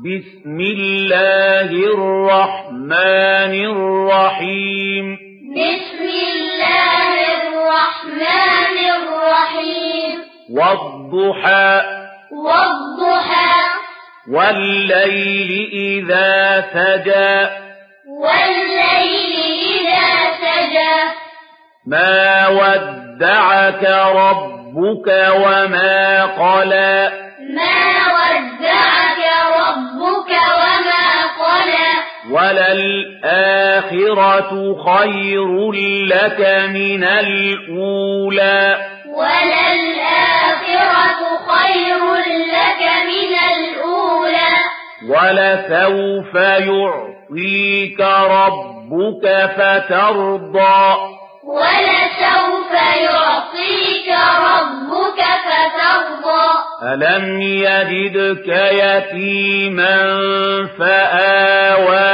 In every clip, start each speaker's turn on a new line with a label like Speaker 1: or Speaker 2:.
Speaker 1: بسم الله الرحمن الرحيم
Speaker 2: بسم الله الرحمن الرحيم
Speaker 1: والضحى
Speaker 2: والضحى
Speaker 1: والليل إذا سجى
Speaker 2: والليل إذا سجى
Speaker 1: ما ودعك ربك وما قلى
Speaker 2: ما ودعك ربك وما قلى
Speaker 1: وللآخرة خير لك من الأولى
Speaker 2: وللآخرة خير لك من الأولى
Speaker 1: ولسوف يعطيك ربك فترضى
Speaker 2: ولسوف يعطيك ربك فترضى
Speaker 1: ألم يجدك يتيما فآوى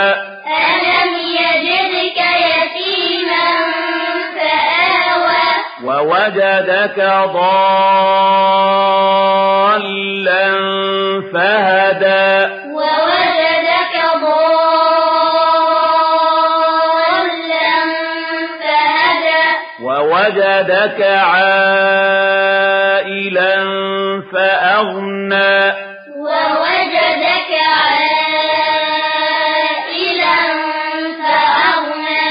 Speaker 2: ألم يجدك يتيما فآوى
Speaker 1: ووجدك ضالا فهدى
Speaker 2: ووجدك ضالا فهدى
Speaker 1: ووجدك عائلا فأغنى
Speaker 2: ووجدك عائلا فأغنى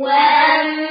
Speaker 2: وأما